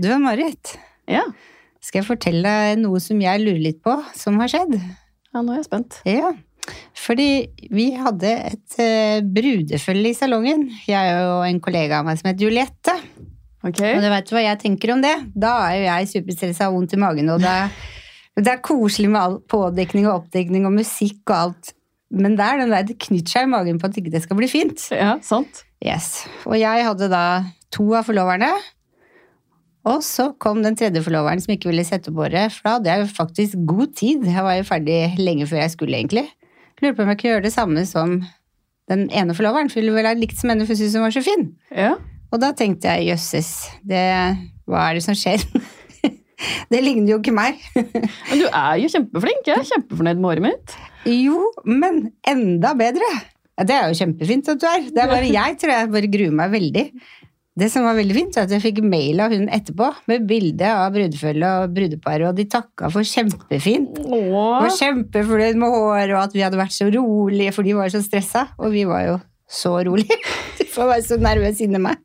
Du, Marit. Ja. Skal jeg fortelle deg noe som jeg lurer litt på, som har skjedd? ja, nå er jeg spent. Ja. Fordi vi hadde et eh, brudefølge i salongen. Jeg og en kollega av meg som het Juliette. Ok. Og du veit hva jeg tenker om det? Da er jo jeg superstressa og vondt i magen, og det er, det er koselig med all pådekning og oppdekning og musikk og alt. Men det er den der, det knytter seg i magen på at ikke det skal bli fint. Ja, sant. Yes. Og jeg hadde da to av forloverne. Og så kom den tredje forloveren som ikke ville sette opp håret. For da hadde jeg jo faktisk god tid. Jeg var jo ferdig lenge før jeg skulle, egentlig. Lurer på om jeg kunne gjøre det samme som den ene forloveren. For hun ville vel ha likt som henne, for hun syntes hun var så fin. Ja. Og da tenkte jeg jøsses, det, hva er det som skjer? det ligner jo ikke meg. Men du er jo kjempeflink. Jeg er kjempefornøyd med håret mitt. Jo, men enda bedre. Ja, Det er jo kjempefint at du er. Det er bare jeg tror jeg bare gruer meg veldig. Det som var veldig fint, var at jeg fikk mail av hun etterpå med bilde av brudefølget og brudeparet, og de takka for kjempefint. Og Åh. kjempefornøyd med håret, og at vi hadde vært så rolige, for de var jo så stressa. Og vi var jo så rolige. Du får være så nervøs inni meg.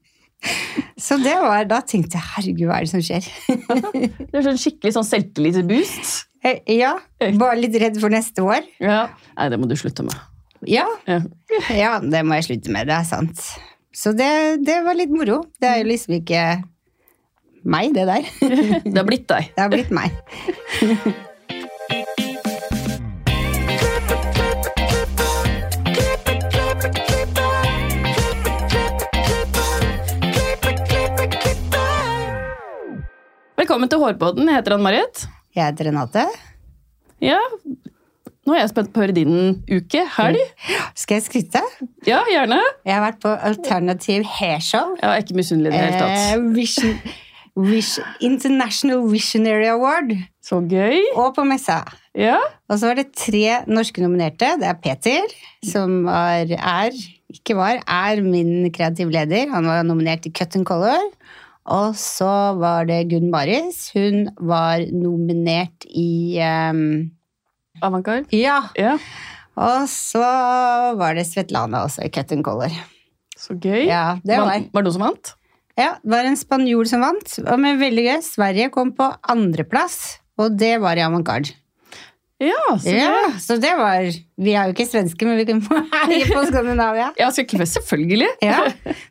Så det var, da tenkte jeg herregud, hva er det som skjer? Det er sånn skikkelig sånn selvtillitsboost. Eh, Ja, bare litt redd for neste år. Ja. Nei, det må du slutte med. Ja, Ja. Ja, det må jeg slutte med, det er sant. Så det, det var litt moro. Det er jo liksom ikke meg, det der. Det har blitt deg. Det har blitt meg. Velkommen til Hårpodden. Jeg heter Ann-Marit. Jeg heter Renate. Ja. Nå er jeg spent på å høre din uke. Helg. Skal jeg skryte? Ja, gjerne. Jeg har vært på Alternative Hairshow. Eh, Jeg er ikke misunnelig i det hele tatt. Vision, Wish- International Visionary Award. Så gøy. Og på messa. Ja. Og så var det tre norske nominerte. Det er Peter, som var, er, ikke var, er min kreative leder. Han var nominert i Cut and Color. Og så var det Gunn Maris. Hun var nominert i ehm, Avantgarde. Ja! Ja. Og så var det Svetlana også i Cut and Color. Så gøy. Ja, det var. Var det noen som vant? Ja, det var en spanjol som vant. Og med veldig gøy. Sverige kom på andreplass, og det var i avantgarde. Ja, så gøy. Ja, så det var Vi er jo ikke svenske, men vi kan få heie på Skandinavia. Ja, selvfølgelig. selvfølgelig. Ja.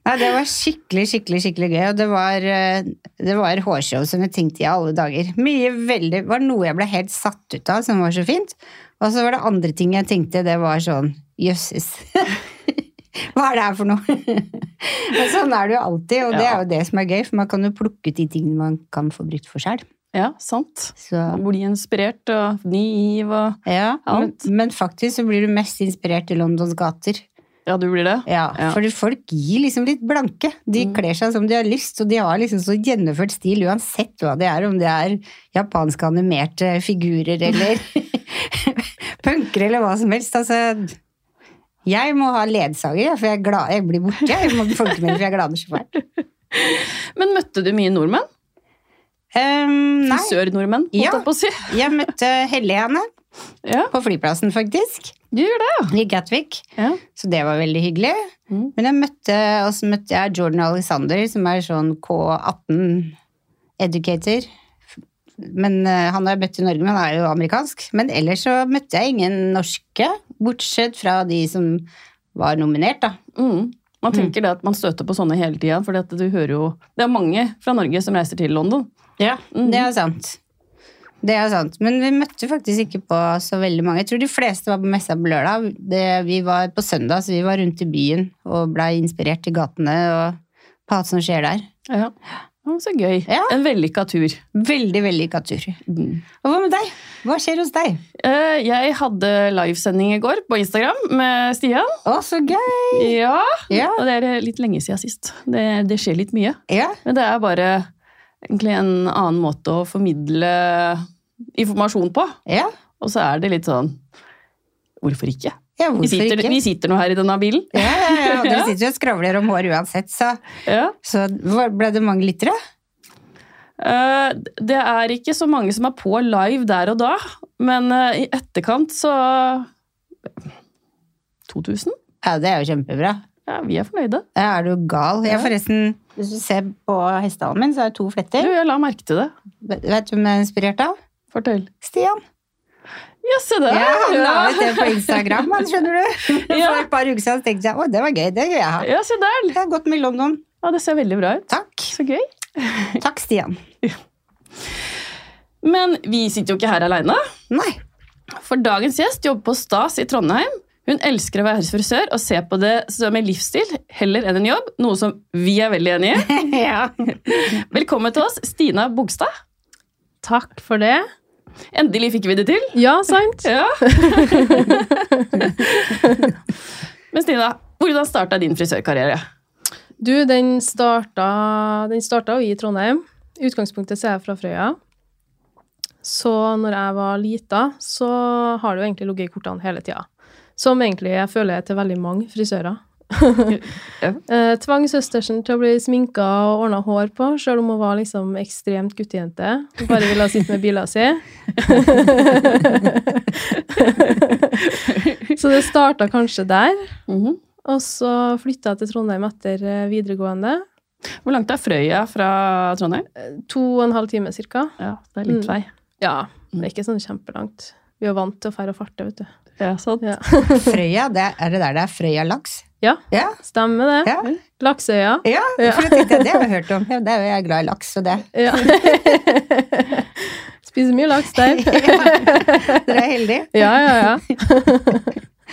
Nei, det var skikkelig, skikkelig skikkelig gøy. Og det var, eh, det var hårshow som jeg tenkte i alle dager. Mye veldig Var noe jeg ble helt satt ut av, som var så fint. Og så var det andre ting jeg tenkte, det var sånn Jøsses. Hva er det her for noe? Men sånn er det jo alltid, og det er jo det som er gøy. For man kan jo plukke ut de tingene man kan få brukt for selv. Ja, sant. Så Bli inspirert og ny giv og ja, men, Alt. men faktisk så blir du mest inspirert i Londons gater. Ja, du blir det? Ja, Ja. for folk gir liksom litt blanke. De kler seg som de har lyst, og de har liksom så gjennomført stil uansett hva det er, om det er japanske animerte figurer eller punker eller hva som helst. Altså, jeg må ha ledsager, jeg, for jeg, er glad, jeg blir borte. Jeg må bli folkemelder, for jeg glader så fælt. Men møtte du mye nordmenn? Ehm, nei, Frisør-nordmenn, Ja. holdt jeg på å si. jeg møtte Helene Ja, på flyplassen, faktisk, du gjør det, i Gatwick. ja. Så det var veldig hyggelig. Mm. Men jeg møtte, og så møtte jeg Jordan Alexander, som er sånn K18-educator. Men eh, Han har jeg møtt i Norge, men han er jo amerikansk. Men ellers så møtte jeg ingen norske, bortsett fra de som var nominert, da. Mm. Man tenker det at man støter på sånne hele tida, for du hører jo Det er mange fra Norge som reiser til London. Mhm. Det er sant. Det er sant. Men vi møtte faktisk ikke på så veldig mange. Jeg tror de fleste var på messa på lørdag. Det, vi var på søndag, så vi var rundt i byen og blei inspirert i gatene og på alt som skjer der. Ja. Ja, Så gøy. Ja. En vellykka tur. Veldig vellykka tur. Mm. Og hva med deg? Hva skjer hos deg? Eh, Jeg hadde livesending i går på Instagram med Stian. Å, så gøy! Ja, Ja. Og det er litt lenge siden sist. Det, det skjer litt mye. Ja, Men det er bare egentlig en annen måte å formidle informasjon på. ja. Og så er det litt sånn Hvorfor ikke? ja Vi hvorfor sitter, ikke? vi sitter nå her i denne bilen. Ja, ja, ja. og Dere Ja. sitter jo og skravler om hår uansett, så, Ja. så hva- ble det mange lyttere? Eh, Det er ikke så mange som er på live der og da, men eh, i etterkant så 2000? Ja, det er jo kjempebra. Ja, vi er fornøyde. Ja, Er du gal? Jeg Ja. forresten, Hvis du ser på hestehalen min, så er det to Du, fletter. jeg la merke til det. Vet du hvem jeg er inspirert av? Fortell. Stian. Ja, se der! Ja, Han la Ah, Ja. ut det på Instagram, han, skjønner du. For et par uker siden så tenkte jeg å, det var gøy, det vil jeg ha. Ja, se der! Jeg har gått med London. Ja, det ser veldig bra ut. Takk. Så gøy. Takk, Stian. Men vi sitter jo ikke her aleine, Nei. for dagens gjest jobber på Stas i Trondheim. Hun elsker å være frisør og ser på det som en livsstil heller enn en jobb, noe som vi er veldig enig i. ja. Velkommen til oss, Stina Bogstad. Takk for det. Endelig fikk vi det til. Ja, sant? Ja. Men Stina, hvordan starta din frisørkarriere? Du, den starta, den starta jo i Trondheim. I utgangspunktet så er jeg fra Frøya. Så når jeg var lita, så har det jo egentlig ligget i kortene hele tida. Som egentlig jeg føler er til veldig mange frisører. Ja. Eh, Tvang søstersen til å bli sminka og ordna hår på, sjøl om hun var liksom ekstremt guttejente. Hun bare ville sitte med bila si. så det starta kanskje der. Og så flytta jeg til Trondheim etter eh, videregående. Hvor langt er Frøya fra Trondheim? Mm. To og en halv time cirka. Ja, det er litt litt vei. Ja, det er ikke sånn kjempelangt. Vi er vant til å fære og farte, vet du. Ja, sånn. sant. Ja. Frøya, det er, er det der det er Frøya laks? Ja, Ja. stemmer det. Ja, Laksøya. ja. for det tenkte jeg, det har jeg hørt om. Ja, det er jo jeg er glad i laks, så det. Ja. Spiser mye laks der. Dere er heldige. Ja, ja, ja.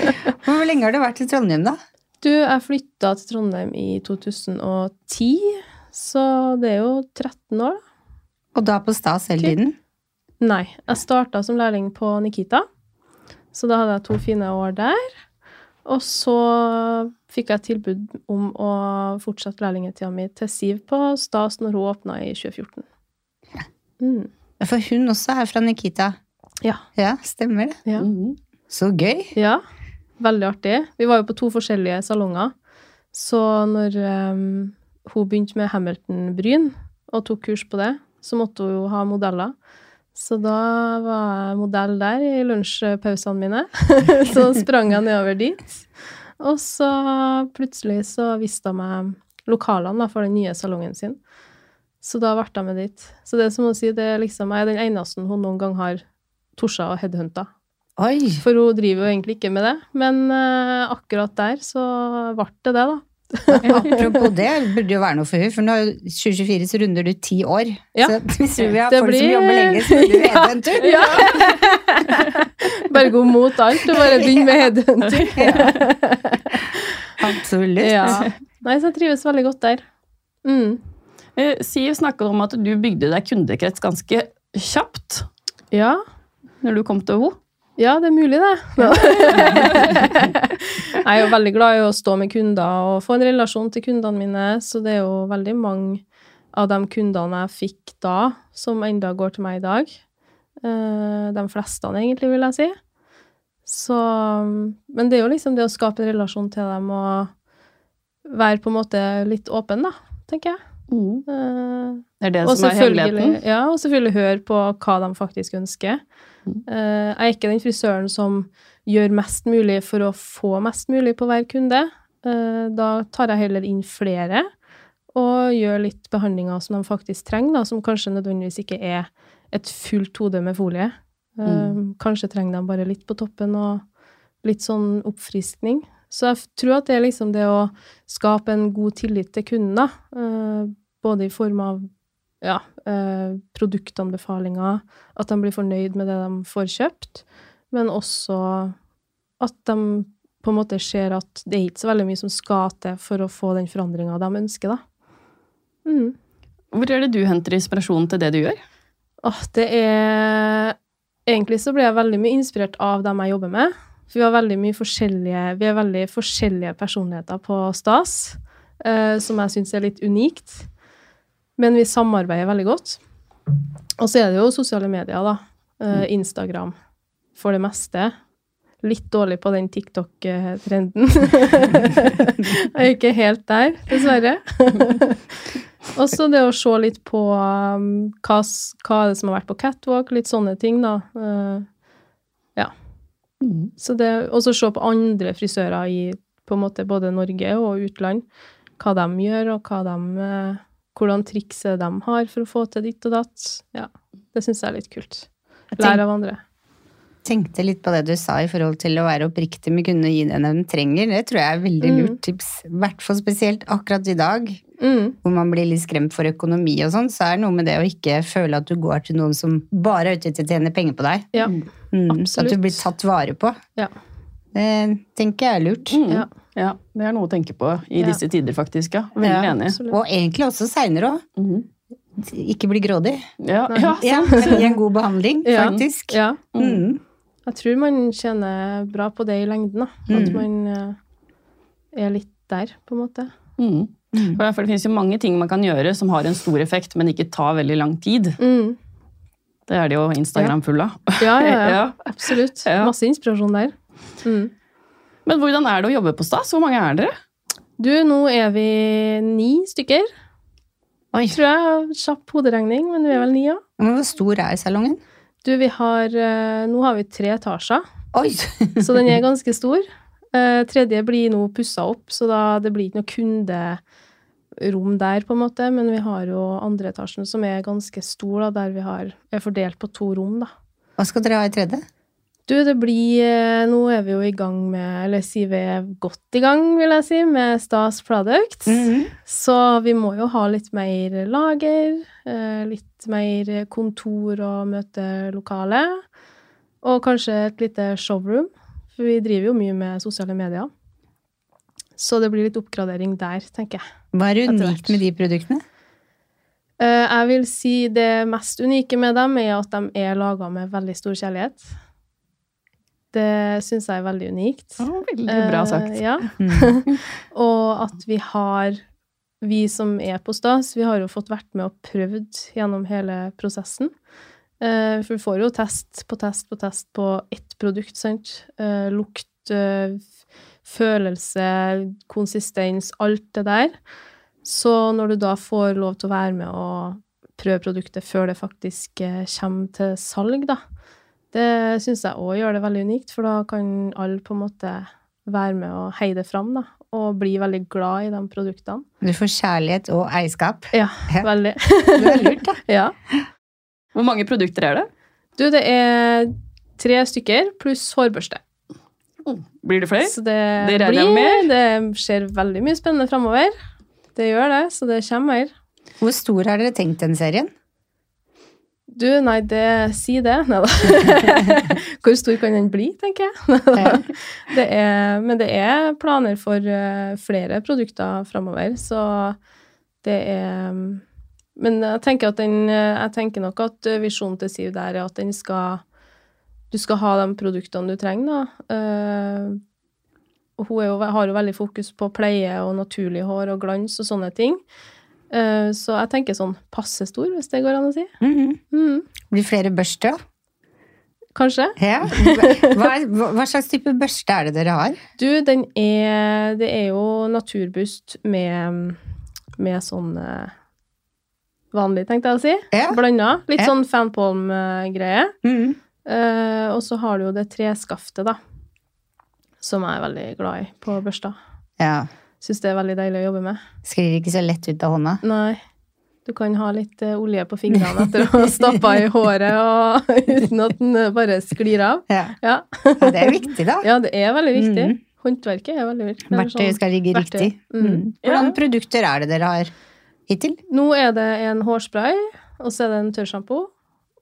Men Hvor lenge har du vært i Trondheim, da? Du, jeg flytta til Trondheim i 2010, så det er jo 13 år, da. Og da på stas hele tiden? Nei. Jeg starta som lærling på Nikita, så da hadde jeg to fine år der. Og så fikk jeg tilbud om å fortsette lærlingetida mi til Siv på Stas når hun åpna i 2014. Mm. For hun også er fra Nikita. Ja. Ja, stemmer det. Ja. Mhm. Så gøy. ja. Veldig artig. Vi var jo på to forskjellige salonger. Så når em, hun begynte med Hamilton-bryn og tok kurs på det, så måtte hun jo ha modeller. Så da var jeg modell der i lunsjpausene mine. så sprang jeg nedover dit. Og så plutselig så visste jeg meg lokalene da, for den nye salongen sin. Så da ble jeg med dit. Så det er som å si, det er liksom, jeg er den eneste hun noen gang har torsa og headhunta. Oi. For hun driver jo egentlig ikke med det, men eh, akkurat der så ble det det, da. Apropos det, burde jo være noe for hun, for nå er jo 2024 så runder du ti år. Ja. Så hvis vi har Det folk som blir- jobber lenge, så burde du Ja. redde en tur. bare gå mot alt og bare begynne med headhunting. Absolutt. Ja. Nei, så jeg trives veldig godt der. Mm. Eh, Siv snakka om at du bygde deg kundekrets ganske kjapt Ja. når du kom til henne. ja, det er mulig, det. jeg er jo veldig glad i å stå med kunder og få en relasjon til kundene mine, så det er jo veldig mange av de kundene jeg fikk da, som enda går til meg i dag. Eh, De fleste, egentlig, vil jeg si. Så, men det er jo liksom det å skape en relasjon til dem og være på en måte litt åpen, da, tenker jeg. Eh, Det er det og som er hemmeligheten. selvfølgelig- Ja, og selvfølgelig høre på hva de faktisk ønsker. Mm. Eh, Jeg er ikke den frisøren som gjør mest mulig for å få mest mulig på hver kunde. Eh, Da tar jeg heller inn flere og gjør litt behandlinger som de faktisk trenger, da, som kanskje nødvendigvis ikke er et fullt hode med folie. Eh, Mm. Kanskje trenger de bare litt på toppen og litt sånn oppfriskning. Så jeg f- tror at det er liksom det å skape en god tillit til kunden, da. Eh, Både i form av ja, eh, produktanbefalinger, at de blir fornøyd med det de får kjøpt, men også at de på en måte ser at det er ikke så veldig mye som skal til for å få den forandringa de ønsker, da. Mm. Hvor er det du henter inspirasjon til det du gjør? Åh, det er Egentlig så ble jeg veldig mye inspirert av dem jeg jobber med. For vi har veldig mye forskjellige Vi er veldig forskjellige personligheter på Stas, eh, som jeg syns er litt unikt. Men vi samarbeider veldig godt. Og så er det jo sosiale medier, da. Eh, Instagram for det meste. Litt dårlig på den TikTok-trenden. jeg er ikke helt der, dessverre. Og så det å se litt på um, hva, s- hva er det som har vært på catwalk, litt sånne ting, da. Eh, ja. Mhm. Mm. Så det, og så se på andre frisører i på en måte både Norge og utland, hva de gjør, og hva de, eh, hvordan trikset de har for å få til ditt og datt. Ja, det syns jeg er litt kult. Jeg tenk- Lære av andre. tenkte litt på det du sa i forhold til å være oppriktig med kunne gi den en trenger. Det tror jeg er veldig lurt tips. I hvert fall spesielt akkurat i dag, Mm. hvor man blir litt skremt for økonomi og sånn, så er det noe med det å ikke føle at du går til noen som bare er ute etter å tjene penger på deg. Ja, Mm, så at Absolutt. du blir tatt vare på. Ja. Det tenker jeg er lurt. Mm. Ja. Ja. det er noe å tenke på i Ja. disse tider, faktisk. Ja. Veldig Ja. enig. absolutt. Og egentlig også seinere òg. Mhm. Ikke bli grådig. Ja, Nei. ja, Ja, men gi en god behandling, Ja. faktisk. Ja. Mm. Jeg tror man tjener bra på det i lengden, da. At Mm. man eh, er litt der, på en måte. Mm. Mm. For derfor, det finnes jo mange ting man kan gjøre som har en stor effekt, men ikke tar veldig lang tid. Mm. Det er det jo Instagram full av. Ja, ja, ja, Ja. Absolutt. Ja. Masse inspirasjon der. Mm. Men hvordan er det å jobbe på Stas? Hvor mange er dere? Du, nå er vi ni stykker. Oi. Tror jeg. Kjapp hoderegning, men vi er vel ni, ja. Men hvor stor er salongen? Du, vi har eh, Nå har vi tre etasjer, Oi! så den er ganske stor. Eh, tredje blir nå pussa opp, så da det blir ikke noe kunderom der, på en måte. Men vi har jo andre etasjen, som er ganske stor, da, der vi har, er fordelt på to rom, da. Hva skal dere ha i tredje? Du, det blir eh, Nå er vi jo i gang med Eller si vi er godt i gang, vil jeg si, med Stas Products. Mm. Så vi må jo ha litt mer lager, eh, litt mer kontor og møtelokale. Og kanskje et lite showroom, for vi driver jo mye med sosiale medier. Så det blir litt oppgradering der, tenker jeg. Hva er Etter unikt hvert. med de produktene? Eh, Jeg vil si det mest unike med dem er at de er laga med veldig stor kjærlighet. Det syns jeg er veldig unikt. veldig bra Eh, sagt. Ja. og at vi har Vi som er på stas, vi har jo fått vært med og prøvd gjennom hele prosessen. Eh, For vi får jo test på test på test på ett produkt, sant? Eh, Lukt, eh, følelse, konsistens, alt det der. Så når du da får lov til å være med og prøve produktet før det faktisk eh, kommer til salg, da, det syns jeg òg gjør det veldig unikt, for da kan alle på en måte være med og heie det fram, da, og bli veldig glad i de produktene. Du får kjærlighet og eierskap. Ja, Ja. veldig. Det er lurt, da. Ja. Hvor mange produkter er det? Du, det er tre stykker pluss hårbørste. Blir det flere? Så det, Det regner jeg blir Det skjer veldig mye spennende framover. Det gjør det, så det kommer mer. Hvor stor har dere tenkt den serien? Du, nei, det Si det. Nei da. Hvor stor kan den bli, tenker jeg. Eh, Ja. Det er, men det er planer for eh, flere produkter framover, så det er Men jeg tenker, at den, eh, jeg tenker nok at eh, visjonen til Siv der er at den skal Du skal ha de produktene du trenger, da. Eh, og hun er jo, har jo veldig fokus på pleie og naturlig hår og glans og sånne ting. Eh, så jeg tenker sånn passe stor, hvis det går an å si. Mhm. Mm, Blir flere børster, da? kanskje. Ja. Hva, er- hva hva slags type børste er det dere har? Du, den er Det er jo naturbust med, med sånn eh, vanlig, tenkte jeg å si. Ja. Blanda. Litt Ja. sånn fanpalm-greie. Mhm. Eh, og så har du jo det treskaftet, da. Som jeg er veldig glad i på børsta. ja. Syns det er veldig deilig å jobbe med. Sklir ikke så lett ut av hånda. Nei. Du kan ha litt eh, olje på fingrene etter å ha stappa i håret og uten at den eh, bare sklir av. Ja. Ja. ja, det er viktig, da. ja, det er veldig viktig. Mhm. Håndverket er veldig viktig. Det er Verktøyet sånn- skal ligge verktøy. riktig. Mm. Mhm. Hvordan produkter er det dere har hittil? Nå er det en hårspray, og så er det en tørrsjampo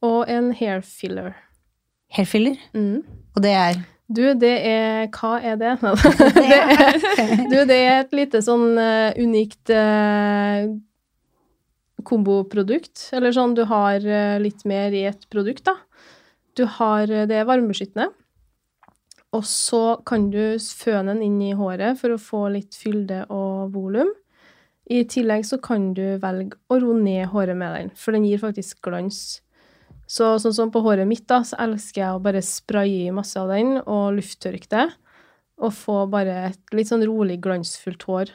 og en hair filler. Hairfiller. Mm. Og det er Du, det er Hva er det? det er, du, det er et lite sånn eh, unikt eh, komboprodukt. Eller sånn du har eh, litt mer i et produkt, da. Du har eh, Det er varmebeskyttende. Og så kan du føne den inn i håret for å få litt fylde og volum. I tillegg så kan du velge å roe ned håret med den, for den gir faktisk glans. Så sånn som på håret mitt, da, så elsker jeg å bare spraye i masse av den og lufttørke det. Og få bare et litt sånn rolig, glansfullt hår.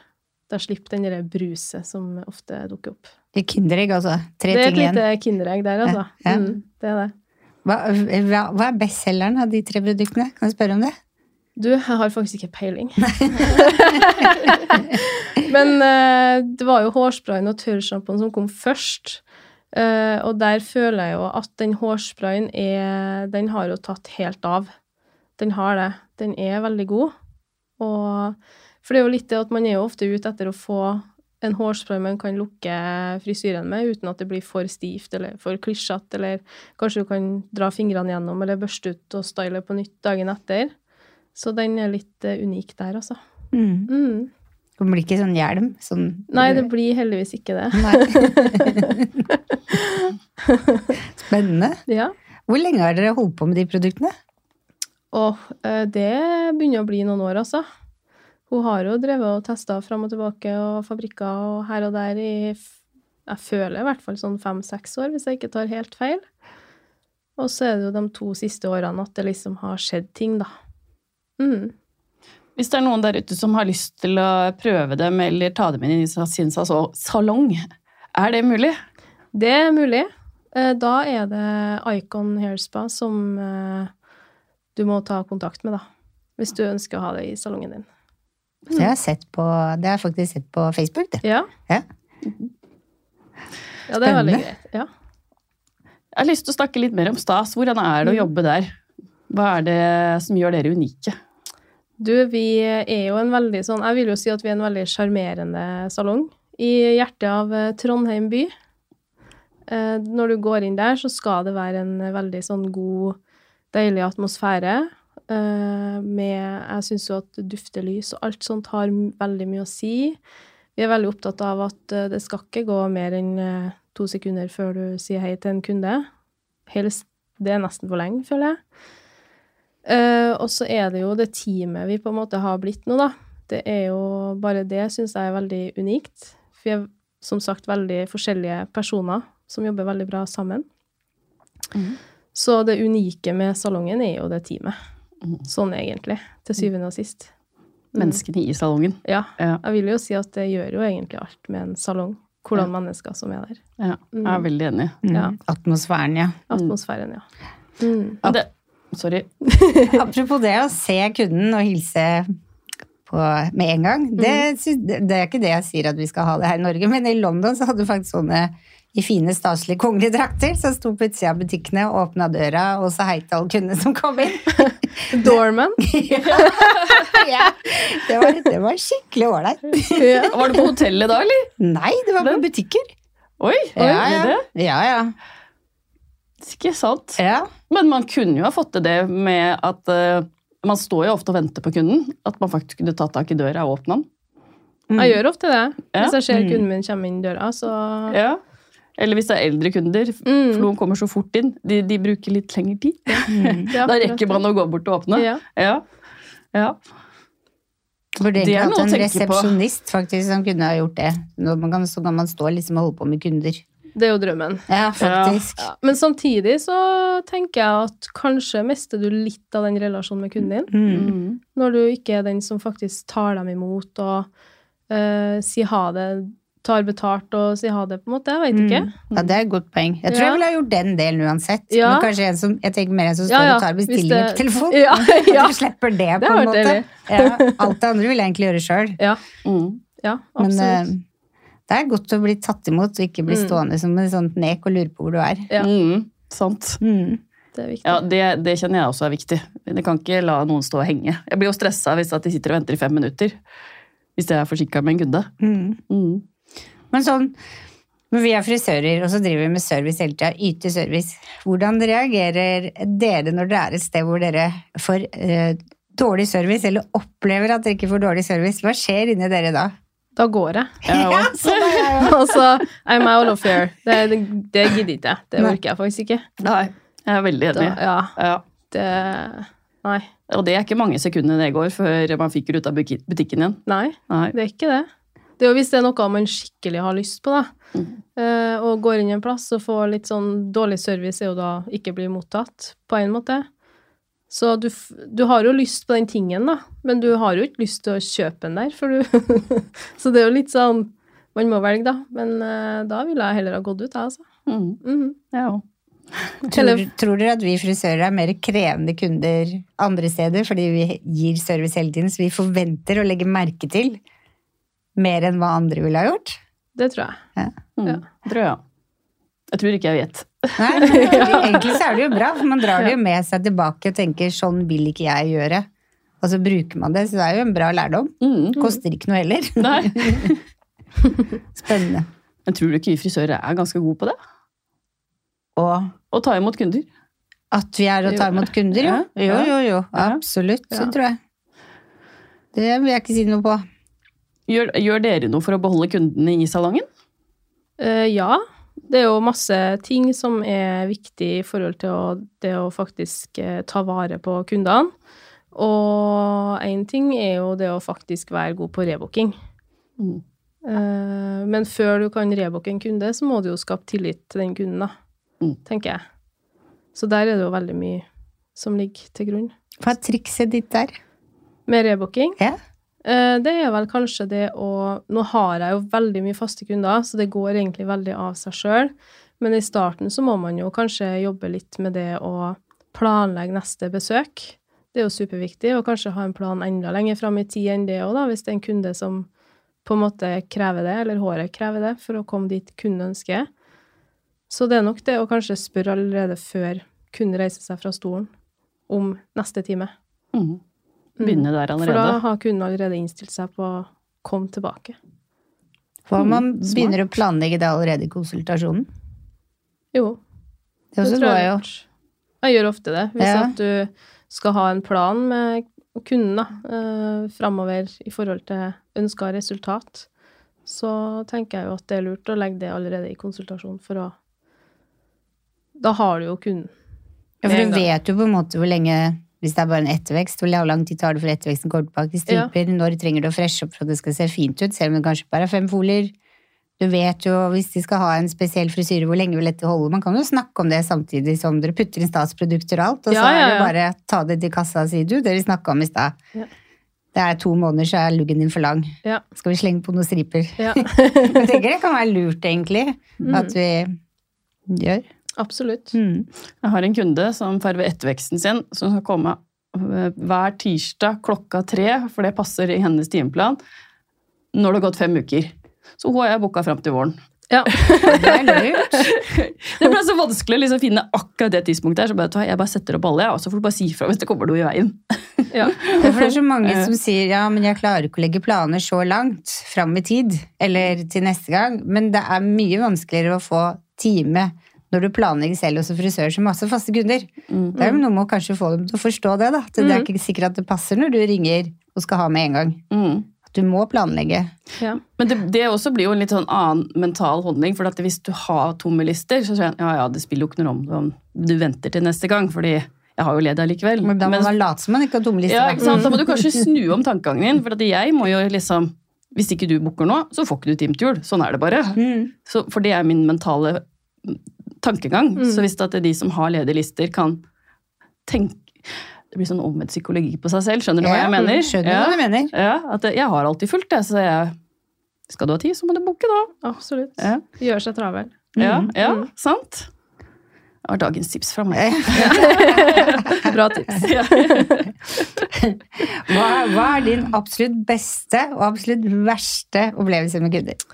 Da slipper den det bruset som ofte dukker opp. Kinderegg, altså. Tre Det er ting et igjen. lite kinderegg der, altså. Ja, ja. Mm, det er det. Hva, hva, hva er bestselgeren av de tre produktene? Kan jeg spørre om det? Du, jeg har faktisk ikke peiling. Men eh, det var jo hårsprayen og tørrsjampoen som kom først. Eh, og der føler jeg jo at den hårsprayen er Den har jo tatt helt av. Den har det. Den er veldig god. Og, for det er jo litt det at man er jo ofte ute etter å få en hårspray man kan lukke frisyren med uten at det blir for stivt eller for klissete, eller kanskje du kan dra fingrene gjennom eller børste ut og style på nytt dagen etter. Så den er litt eh, unik der, altså. Mm. Mm. Det blir ikke sånn hjelm? Sånn, Nei, det blir heldigvis ikke det. Nei. Spennende. Ja. Hvor lenge har dere holdt på med de produktene? Og eh, det begynner å bli noen år, altså. Hun har jo drevet og testa fram og tilbake og fabrikker og her og der i f- Jeg føler i hvert fall sånn fem-seks år, hvis jeg ikke tar helt feil. Og så er det jo de to siste årene at det liksom har skjedd ting, da. Mm. Hvis det er noen der ute som har lyst til å prøve dem eller ta dem inn i sin sa- salong, er det mulig? Det er mulig. Eh, Da er det Icon Hairspa som eh, du må ta kontakt med, da. Hvis du ønsker å ha det i salongen din. Det har jeg, sett på, det har jeg faktisk sett på Facebook. Det. Ja. Ja. Ja, det er veldig Spennende. greit. Ja. Jeg har lyst til å snakke litt mer om stas. Hvordan er det å jobbe der? Hva er det som gjør dere unike? Du, vi er jo en veldig sånn Jeg vil jo si at vi er en veldig sjarmerende salong i hjertet av eh, Trondheim by. Eh, Når du går inn der, så skal det være en veldig sånn god, deilig atmosfære. eh, Med Jeg syns jo at duftelys og alt sånt har m- veldig mye å si. Vi er veldig opptatt av at eh, det skal ikke gå mer enn eh, to sekunder før du sier hei til en kunde. Helst Det er nesten for lenge, føler jeg. Eh, og så er det jo det teamet vi på en måte har blitt nå, da. Det er jo bare det syns jeg er veldig unikt. For vi er som sagt veldig forskjellige personer som jobber veldig bra sammen. Mhm. Så det unike med salongen er jo det teamet. Mhm. Sånn egentlig, til syvende og sist. Mm. Menneskene i salongen. Ja. Ja. Jeg vil jo si at det gjør jo egentlig alt med en salong. Hvordan mennesker som er der. Ja, jeg Mm. er veldig enig. Mm. Ja. Atmosfæren, ja. Mm. Atmosfæren, ja. Mm. Men Det, sorry. Apropos det å se kunden og hilse på, med en gang. Det, Mm. sy- det er ikke det jeg sier at vi skal ha det her i Norge, men i London så hadde du faktisk sånne i fine, staselige kongelige drakter som sto på utsida av butikkene, åpna døra og så hei til alle kundene som kom inn. Doorman. ja. det, var, det var skikkelig ålreit. ja. Var du på hotellet da, eller? Nei, det var på butikker. Oi, Ja, var ja. det? ja, ja. Ikke sant. ja. Men man kunne jo ha fått til det med at eh, man står jo ofte og venter på kunden. At man faktisk kunne tatt tak i døra og åpna den. Jeg gjør ofte det. Ja. Hvis jeg ser Mm. kunden min komme inn døra, så Ja. Eller hvis det er eldre kunder. Mm. For noen kommer så fort inn. De, de bruker litt lengre tid. Mm. Det Da er akkurat rekker man å gå bort og åpne. det. Ja. Ja. ja. Burde Det egentlig er hatt noe å en tenke på. resepsjonist faktisk som kunne ha gjort det. Når man kan, så kan man stå liksom og holde på med kunder. Det er jo drømmen. Ja, faktisk. Ja. Men samtidig så tenker jeg at kanskje mister du litt av den relasjonen med kunden din. Mm. Når du ikke er den som faktisk tar dem imot og eh, sier ha det, tar betalt og sier ha det, på en måte. Jeg vet ikke. Mm. Ja, det er et godt poeng. Jeg tror Ja. jeg ville ha gjort den delen uansett. Ja. Men kanskje en som, jeg tenker mer en som står Ja, ja, og tar hvis bestillinger det- på telefon. Ja, ja. At du slipper det, Det på en har vært måte. deilig. Ja, alt det andre vil jeg egentlig gjøre sjøl. Mm. ja Men absolutt. eh, det er godt å bli tatt imot og ikke bli Mm. stående som en sånn nek og lure på hvor du er. Ja. Mm. Sant. Mm. det er viktig. Ja, det, det kjenner jeg også er viktig. Det kan ikke la noen stå og henge. Jeg blir jo stressa hvis at de sitter og venter i fem minutter. Hvis jeg er forsinka med en kunde. Mm. Mm. Men sånn men vi er frisører, og så driver vi med service hele tida. Yte service. Hvordan reagerer dere når dere er et sted hvor dere får eh, dårlig service, eller opplever at dere ikke får dårlig service? Hva skjer inni dere da? Da går jeg. Jeg Ja, også. sånn er jeg jo. altså, I'm out of here. Det, det, det gidder ikke jeg. Det Nei. orker jeg faktisk ikke. Nei, jeg er veldig Da, enig. ja, Ja. det Nei. Og det er ikke mange sekundene det går før man fyker ut av buki- butikken igjen. Nei. Nei. Det er ikke det. Det er jo hvis det er noe man skikkelig har lyst på, da. Mhm. Eh, og går inn i en plass og får litt sånn dårlig service, er jo da ikke blir mottatt, på en måte. Så du, f- du har jo lyst på den tingen, da, men du har jo ikke lyst til å kjøpe den der, for du Så det er jo litt sånn Man må velge, da. Men eh, da ville jeg heller ha gått ut, jeg, altså. Mm. Mhm. Jeg også. Tror, tror dere at vi frisører er mer krevende kunder andre steder fordi vi gir service hele tiden, så vi forventer å legge merke til mer enn hva andre ville ha gjort? Det tror jeg. Mm. Ja. Tror jeg. Jeg tror ikke jeg vet. Nei, men egentlig så er det jo bra, for man drar det jo med seg tilbake og tenker sånn vil ikke jeg gjøre. Og så bruker man det, så det er jo en bra lærdom. Mm. Koster ikke noe heller. Nei. Spennende. Men tror du ikke vi frisører er ganske gode på det? Og Å ta imot kunder. At vi er og tar Jo. imot kunder, jo. Ja, Jo, ja. jo, jo. Ja. Absolutt. Så Ja. tror jeg. Det vil jeg ikke si noe på. Gjør, gjør dere noe for å beholde kundene i salongen? Eh, ja. Det er jo masse ting som er viktig i forhold til å, det å faktisk eh, ta vare på kundene. Og én ting er jo det å faktisk være god på rebooking. Mm. Eh, men før du kan rebooke en kunde, så må du jo skape tillit til den kunden, da. Mm. Tenker jeg. Så der er det jo veldig mye som ligger til grunn. Hva er trikset ditt der? Med rebooking? Ja. Eh, Det er vel kanskje det å Nå har jeg jo veldig mye faste kunder, så det går egentlig veldig av seg sjøl. Men i starten så må man jo kanskje jobbe litt med det å planlegge neste besøk. Det er jo superviktig, og kanskje ha en plan enda lenger fram i tid enn det òg, da, hvis det er en kunde som på en måte krever det, eller håret krever det, for å komme dit kunden ønsker. Så det er nok det å kanskje spørre allerede før kunden reiser seg fra stolen, om neste time. Mm. Begynne der For da allerede. har kunden allerede innstilt seg på å komme tilbake. Hva om man Mm, smart. begynner å planlegge det allerede i konsultasjonen? Jo, Det også tror går jeg jo. har gjort. Jeg gjør ofte det. Hvis Ja. at du skal ha en plan med kunden da, eh, framover i forhold til ønska resultat, så tenker jeg jo at det er lurt å legge det allerede i konsultasjon for å Da har du jo kunden. Ja, med for en du gang. vet jo på en måte hvor lenge Hvis det er bare en ettervekst, hvor lang tid tar det for etterveksten går tilbake i striper? Når trenger du å freshe opp for at det skal se fint ut, selv om det kanskje bare er fem folier? Du vet jo hvis de skal ha en spesiell frisyre, hvor lenge vil dette holde? Man kan jo snakke om det samtidig som dere putter inn statsprodukter og alt, og Ja, så er ja, det ja. bare ta det til kassa, sier du, det vi snakka om i stad. Ja. Det er to måneder, så er luggen din for lang. Ja. Skal vi slenge på noen striper? Ja, Mm. Jeg tenker det kan være lurt, egentlig, at vi gjør. absolutt. Mm. Jeg har en kunde som farver etterveksten sin, som skal komme eh, hver tirsdag klokka tre, for det passer i hennes timeplan, når det har gått fem uker. Så hun har jeg booka fram til våren. Ja. Det er lurt. Det ble så vanskelig å liksom finne akkurat det tidspunktet her, så bare, vet du hva, jeg bare setter opp alle, jeg, og så får du bare si fra hvis det kommer noe i veien. ja. Ja, for det er så mange som sier ja, men jeg klarer ikke å legge planer så langt fram i tid, eller til neste gang. Men det er mye vanskeligere å få time når du planlegger selv og som frisør som masse faste kunder. Mm, Det er jo noe med å kanskje få dem til å forstå det, da. At det er ikke sikkert at det passer når du ringer og skal ha med en gang. Mm. At du må planlegge. ja. Men det, det også blir jo en litt sånn annen mental holdning. For at hvis du har tomme lister, så sier han ja, ja, det spiller jo ikke noe om om du venter til neste gang, fordi jeg har jo ledd allikevel. Men da må Mens- man late som man ikke har tomme lister. Mm. ja, da. ikke sant? Da må du kanskje snu om tankegangen din. For at jeg må jo liksom Hvis ikke du booker nå, så får ikke du time til jul. Sånn er det bare. Mm. Så, for det er min mentale mm, tankegang. Mm. Så hvis det at de som har ledige lister, kan tenke Det blir sånn omvendt psykologi på seg selv. Skjønner du hva Ja, jeg mener? mm, Skjønner ja. hva du mener. Ja, at det- jeg har alltid fulgt, jeg, så jeg Skal du ha tid, så må du booke, da. Absolutt. Ja. Gjør seg travel. Ja, Mm, ja sant? Det var dagens tips fra meg. Bra tips. Ja. Hva, hva er din absolutt beste og absolutt verste opplevelse med kunder?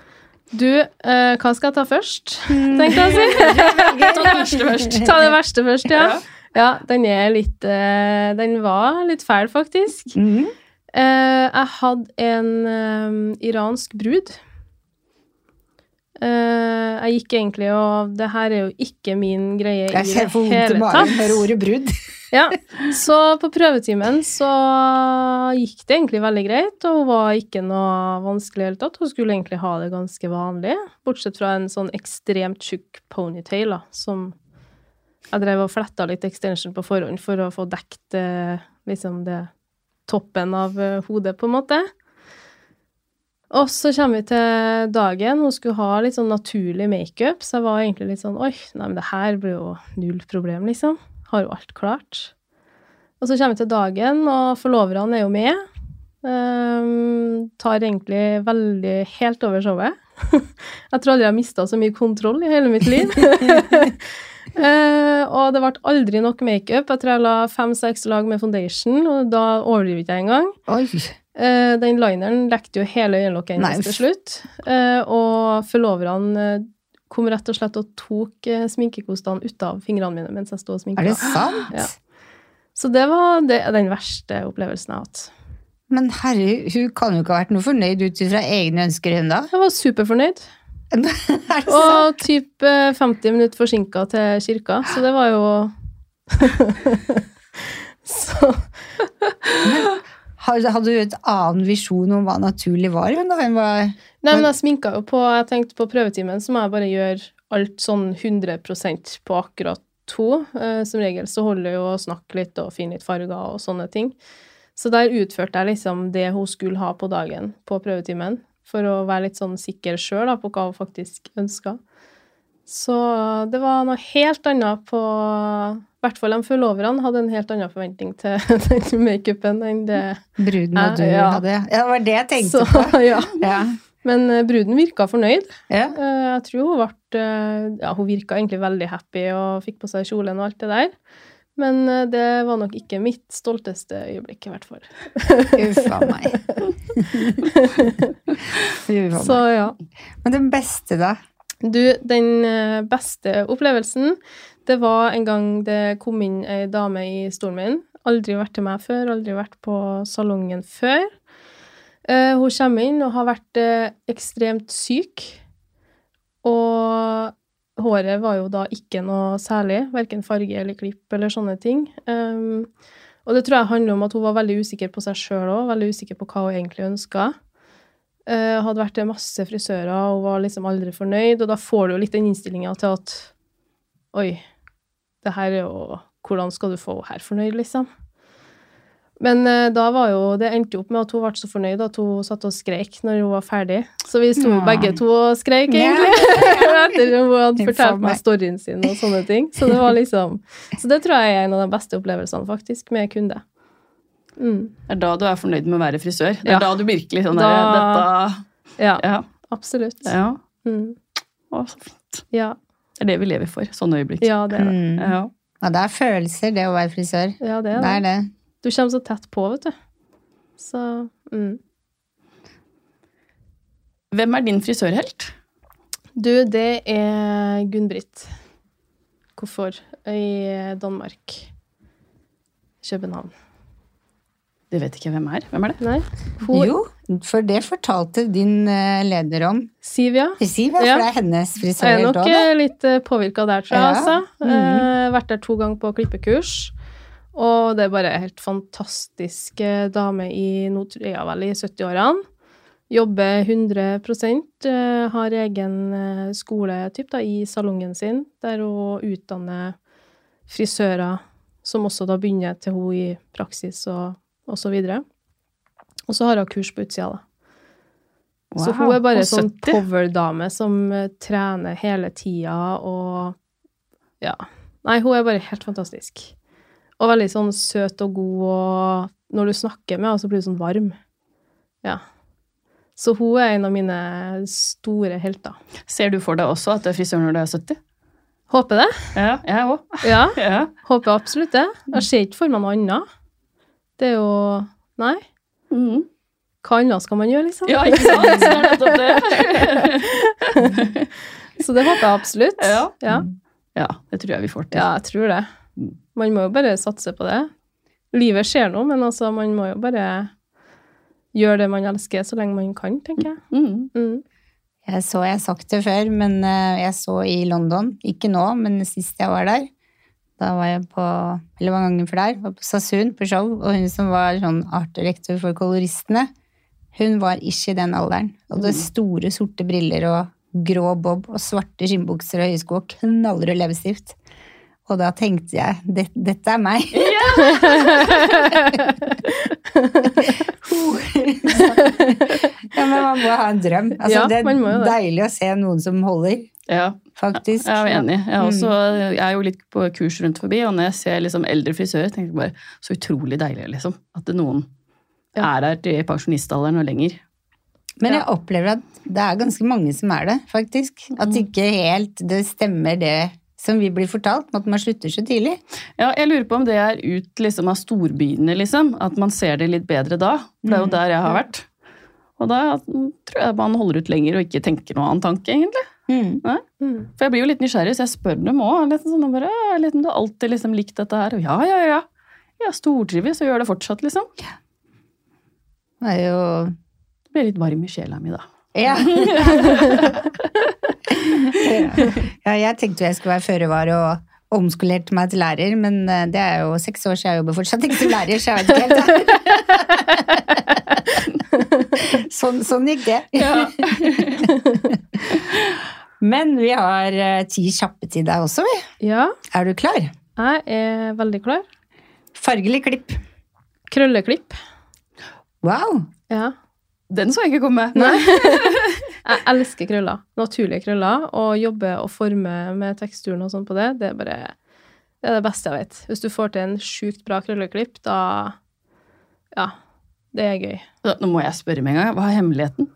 Du, eh, hva skal jeg ta først? Tenkte jeg å si. Ta det verste først. Ta det verste først, Ja. ja. Ja, den er litt eh, Den var litt fæl, faktisk. Mm. Eh, jeg hadde en eh, iransk brud. Eh, jeg gikk egentlig og Det her er jo ikke min greie i det Jeg ser for vondt i hele magen tatt. hører ordet brudd. Ja, så på prøvetimen så gikk det egentlig veldig greit, og hun var ikke noe vanskelig i det hele tatt. Hun skulle egentlig ha det ganske vanlig, bortsett fra en sånn ekstremt tjukk ponytail, da, som jeg drev og fletta litt extension på forhånd for å få dekt eh, liksom det toppen av eh, hodet, på en måte. Og så kommer vi til dagen. Hun skulle ha litt sånn naturlig makeup, så jeg var egentlig litt sånn Oi, nei, men det her blir jo null problem, liksom. Har jo alt klart. Og så kommer vi til dagen, og forloverne er jo med. Ehm, tar egentlig veldig helt over showet. jeg tror aldri jeg har mista så mye kontroll i hele mitt liv. Eh, og det ble aldri nok makeup. Jeg tror jeg la fem-seks lag med foundation, og da overdriver ikke jeg engang. Oi. Eh, den lineren lekte jo hele øyelokket Nei, hennes til uff. slutt. Eh, og forloverne eh, kom rett og slett og tok eh, sminkekostene ut av fingrene mine mens jeg sto og Er sminka. det sant? Ja. Så det var det, den verste opplevelsen jeg har hatt. Men herre, hun kan jo ikke ha vært noe fornøyd ut ifra egne ønsker, hun da? Jeg var superfornøyd. Er det sant? Og typ eh, 50 minutter forsinka til kirka, så det var jo Så Hadde hadde hun et annen visjon om hva naturlig var, hun da? Hun var Nei, men Men- jeg sminka jo på Jeg tenkte på prøvetimen, så må jeg bare gjøre alt sånn 100 på akkurat to. Eh, som regel så holder jeg jo å snakke litt og finne litt farger og sånne ting. Så der utførte jeg liksom det hun skulle ha på dagen på prøvetimen, for å være litt sånn sikker sjøl på hva hun faktisk ønska. Så det var noe helt annet på I hvert fall de forloverne hadde en helt annen forventning til den makeupen enn det bruden og du Eh, Ja, ja. hadde Ja, det var det jeg tenkte Så, på. ja. Ja. Men eh, bruden virka fornøyd. Ja. Eh, Jeg tror hun ble eh, Ja, hun virka egentlig veldig happy og fikk på seg kjolen og alt det der. Men eh, det var nok ikke mitt stolteste øyeblikk, i hvert fall. Uffa meg. Uffa Så meg. ja. Men den beste, da? Du, den eh, beste opplevelsen, det var en gang det kom inn ei dame i stolen min. Aldri vært til meg før, aldri vært på salongen før. Eh, hun kommer inn og har vært eh, ekstremt syk. Og håret var jo da ikke noe særlig, verken farge eller klipp eller sånne ting. Um, og det tror jeg handler om at hun var veldig usikker på seg sjøl òg, veldig usikker på hva hun egentlig ønska. Eh, hadde vært til masse frisører og var liksom aldri fornøyd, og da får du jo litt den innstillinga til at Oi, det her er jo Hvordan skal du få henne her fornøyd, liksom? Men eh, da var jo, det endte jo opp med at hun ble så fornøyd at hun satt og skreik når hun var ferdig. Så vi sto Ja. begge to og skreik, Ja. egentlig. Etter hun hadde Informer. fortalt meg storyen sin og sånne ting. Så det var liksom Så det tror jeg er en av de beste opplevelsene, faktisk, med kunde. Mm. Det er da du er fornøyd med å være frisør. Det er Ja. da du virkelig sånn Da- der, Ja, dette, ja, absolutt. ja. Mm. Å, så fint. Ja, Det er det vi lever for. Sånne øyeblikk. ja, det er det. Mm. Ja. Ja, det er følelser, det å være frisør. Ja, det Det er er det. det. Du kommer så tett på, vet du. Så mm. Hvem er din frisørhelt? Du, det er Gunn-Britt. Hvorfor? I Danmark. København. Det vet ikke jeg hvem er. Hvem er det? Nei? Hun, Jo, for det fortalte din eh, leder om. Siv, ja. Siv, ja, Ja. for det er hennes Jeg er frisørhelt nok òg, da. eh, litt påvirka der, tror jeg. Ja. Altså. Mhm. Eh, Vært der to ganger på klippekurs. Og det er bare en helt fantastisk eh, dame i nå tror jeg vel i 70-årene. Jobber 100 eh, har egen eh, skole typ, da, i salongen sin, der hun utdanner frisører som også da begynner til hun i praksis og, og så videre. Og så har hun kurs på utsida, da. Så hun Wow, er bare og sånn 70. power-dame som eh, trener hele tida og Ja. Nei, hun er bare helt fantastisk. Og veldig sånn søt og god, og når du snakker med henne, så blir du sånn varm. Ja. Så hun er en av mine store helter. Ser du for deg også at du er frisør når du er 70? Håper det. Ja, jeg òg. Ja, Ja. håper absolutt det. Jeg ser ikke for meg noe annet. Det er jo Nei. Mm. Mhm. Hva annet skal man gjøre, liksom? ja, ikke sant? Det er nettopp det. Så det håper jeg absolutt. Ja. ja. Ja, det tror jeg vi får til. Ja, jeg tror det. Mm. Man må jo bare satse på det. Livet skjer nå, men altså, man må jo bare gjøre det man elsker, så lenge man kan, tenker jeg. Mhm. Mm. Jeg så, jeg har sagt det før, men eh, jeg så i London, ikke nå, men sist jeg var der, da var jeg på, eller mange ganger før der, var på Sassoon på show, og hun som var sånn artdirektor for koloristene, hun var ikke i den alderen. Og det store sorte briller og grå bob og svarte skinnbukser og høysko og knallrød leppestift. Og da tenkte jeg, det, dette er meg. ja, men man må ha en drøm. Altså, Ja, det er man må jo det. deilig å se noen som holder Ja. faktisk. Jeg er enig. Jeg er, også, Mm. jeg er jo litt på kurs rundt forbi, og når jeg ser liksom eldre frisører, tenker jeg bare så utrolig deilig liksom, at det noen Ja. er her til pensjonistalderen og lenger. Men jeg opplever at det er ganske mange som er det, faktisk. At ikke helt det stemmer det som vi blir fortalt om at man slutter så tidlig. Ja, jeg lurer på om det er ut liksom, av storbyene, liksom. At man ser det litt bedre da. For det er jo der jeg har vært. Og da tror jeg man holder ut lenger og ikke tenker noen annen tanke, egentlig. Mm. For jeg blir jo litt nysgjerrig, så jeg spør dem òg. Liksom, sånn, bare, «Ja, liksom, du har alltid liksom, likt dette her. Og ja, ja, ja. Jeg stortrives og gjør det fortsatt, liksom. Det er jo Det blir litt varm i sjela mi, da. Ja. ja, jeg tenkte jo jeg skulle være føre var og omskolert meg til lærer, men eh, det er jo seks år siden jeg jobber fortsatt ikke som lærer, så jeg vet ikke helt. sånn, sånn gikk det. Men vi har eh, ti kjappe til deg også, vi. Ja, Er du klar? jeg er veldig klar. Fargelig klipp. Krølleklipp. Wow! Ja. Den så jeg ikke komme. Jeg elsker krøller. Naturlige krøller. Og jobbe og forme med teksturen og sånn på det, det er bare det er det beste jeg vet. Hvis du får til en sjukt bra krølleklipp, da Ja. Det er gøy. Da- Nå må jeg spørre med en gang. Hva er hemmeligheten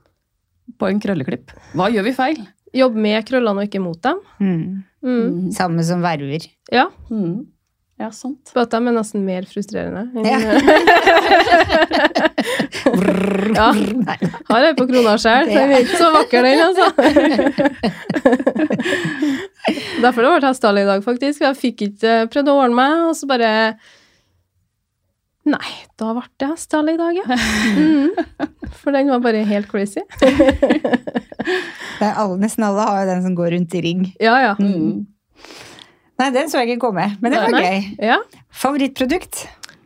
på en krølleklipp? Hva gjør vi feil? Jobb med krøllene og ikke mot dem. Mm. Mm. Mm. Samme som verver. Ja. Mm. Ja, sant. På at de er nesten mer frustrerende. enn- eh, Ja. Ja. Nei. Har jeg på krona sjøl. Den er ikke så vakker, den, altså. Derfor det var hestehale i dag, faktisk. Jeg fikk ikke eh, prøvd å ordne meg, og så bare Nei, da ble det hestehale i dag, ja. Mhm. For den var bare helt crazy. Det er alle, nesten alle har jo den som går rundt i ring. Ja, ja. Mm. Nei, den så jeg ikke komme, men det var Nei. gøy. ja. Favorittprodukt?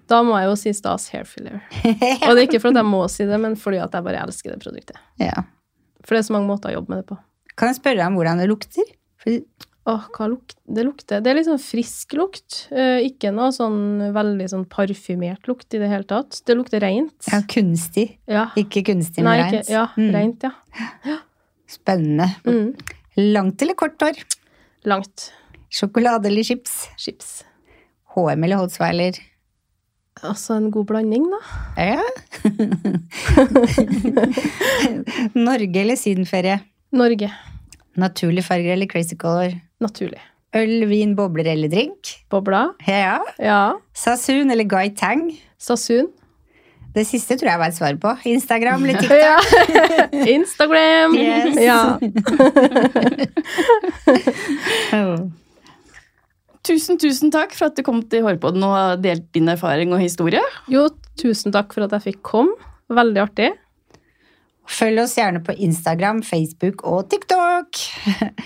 Da må jeg jo si Stas hair filler. Og det er ikke fordi jeg må si det, men fordi at jeg bare elsker det produktet. Ja. For det er så mange måter å jobbe med det på. Kan jeg spørre deg om hvordan det lukter? For, Åh, hva luk det lukter? Det er litt sånn frisk lukt. Eh, ikke noe sånn veldig sånn parfymert lukt i det hele tatt. Det lukter rent. ja, kunstig. Ja. Ikke kunstig, Nei, men ikke, rent. ja, Mm. rent, ja. Spennende. Mm. Langt eller kort hår? Langt. Sjokolade eller chips? Chips. HM eller Holzweiler? Altså en god blanding, da. Ja. Norge eller sydenferie? Norge. Naturlige farger eller crazy color? Naturlig. Øl, vin, bobler eller drink? Bobla. Ja. Ja. Sasun eller Guy Tang? Sasun. Det siste tror jeg var et svar på. Instagram eller TikTok? Ja. Instagram. Yes. Ja. Tusen, tusen takk for at du kom til Hårpodden og har delt din erfaring og historie. Jo, tusen takk for at jeg fikk komme. Veldig artig. Følg oss gjerne på Instagram, Facebook og TikTok.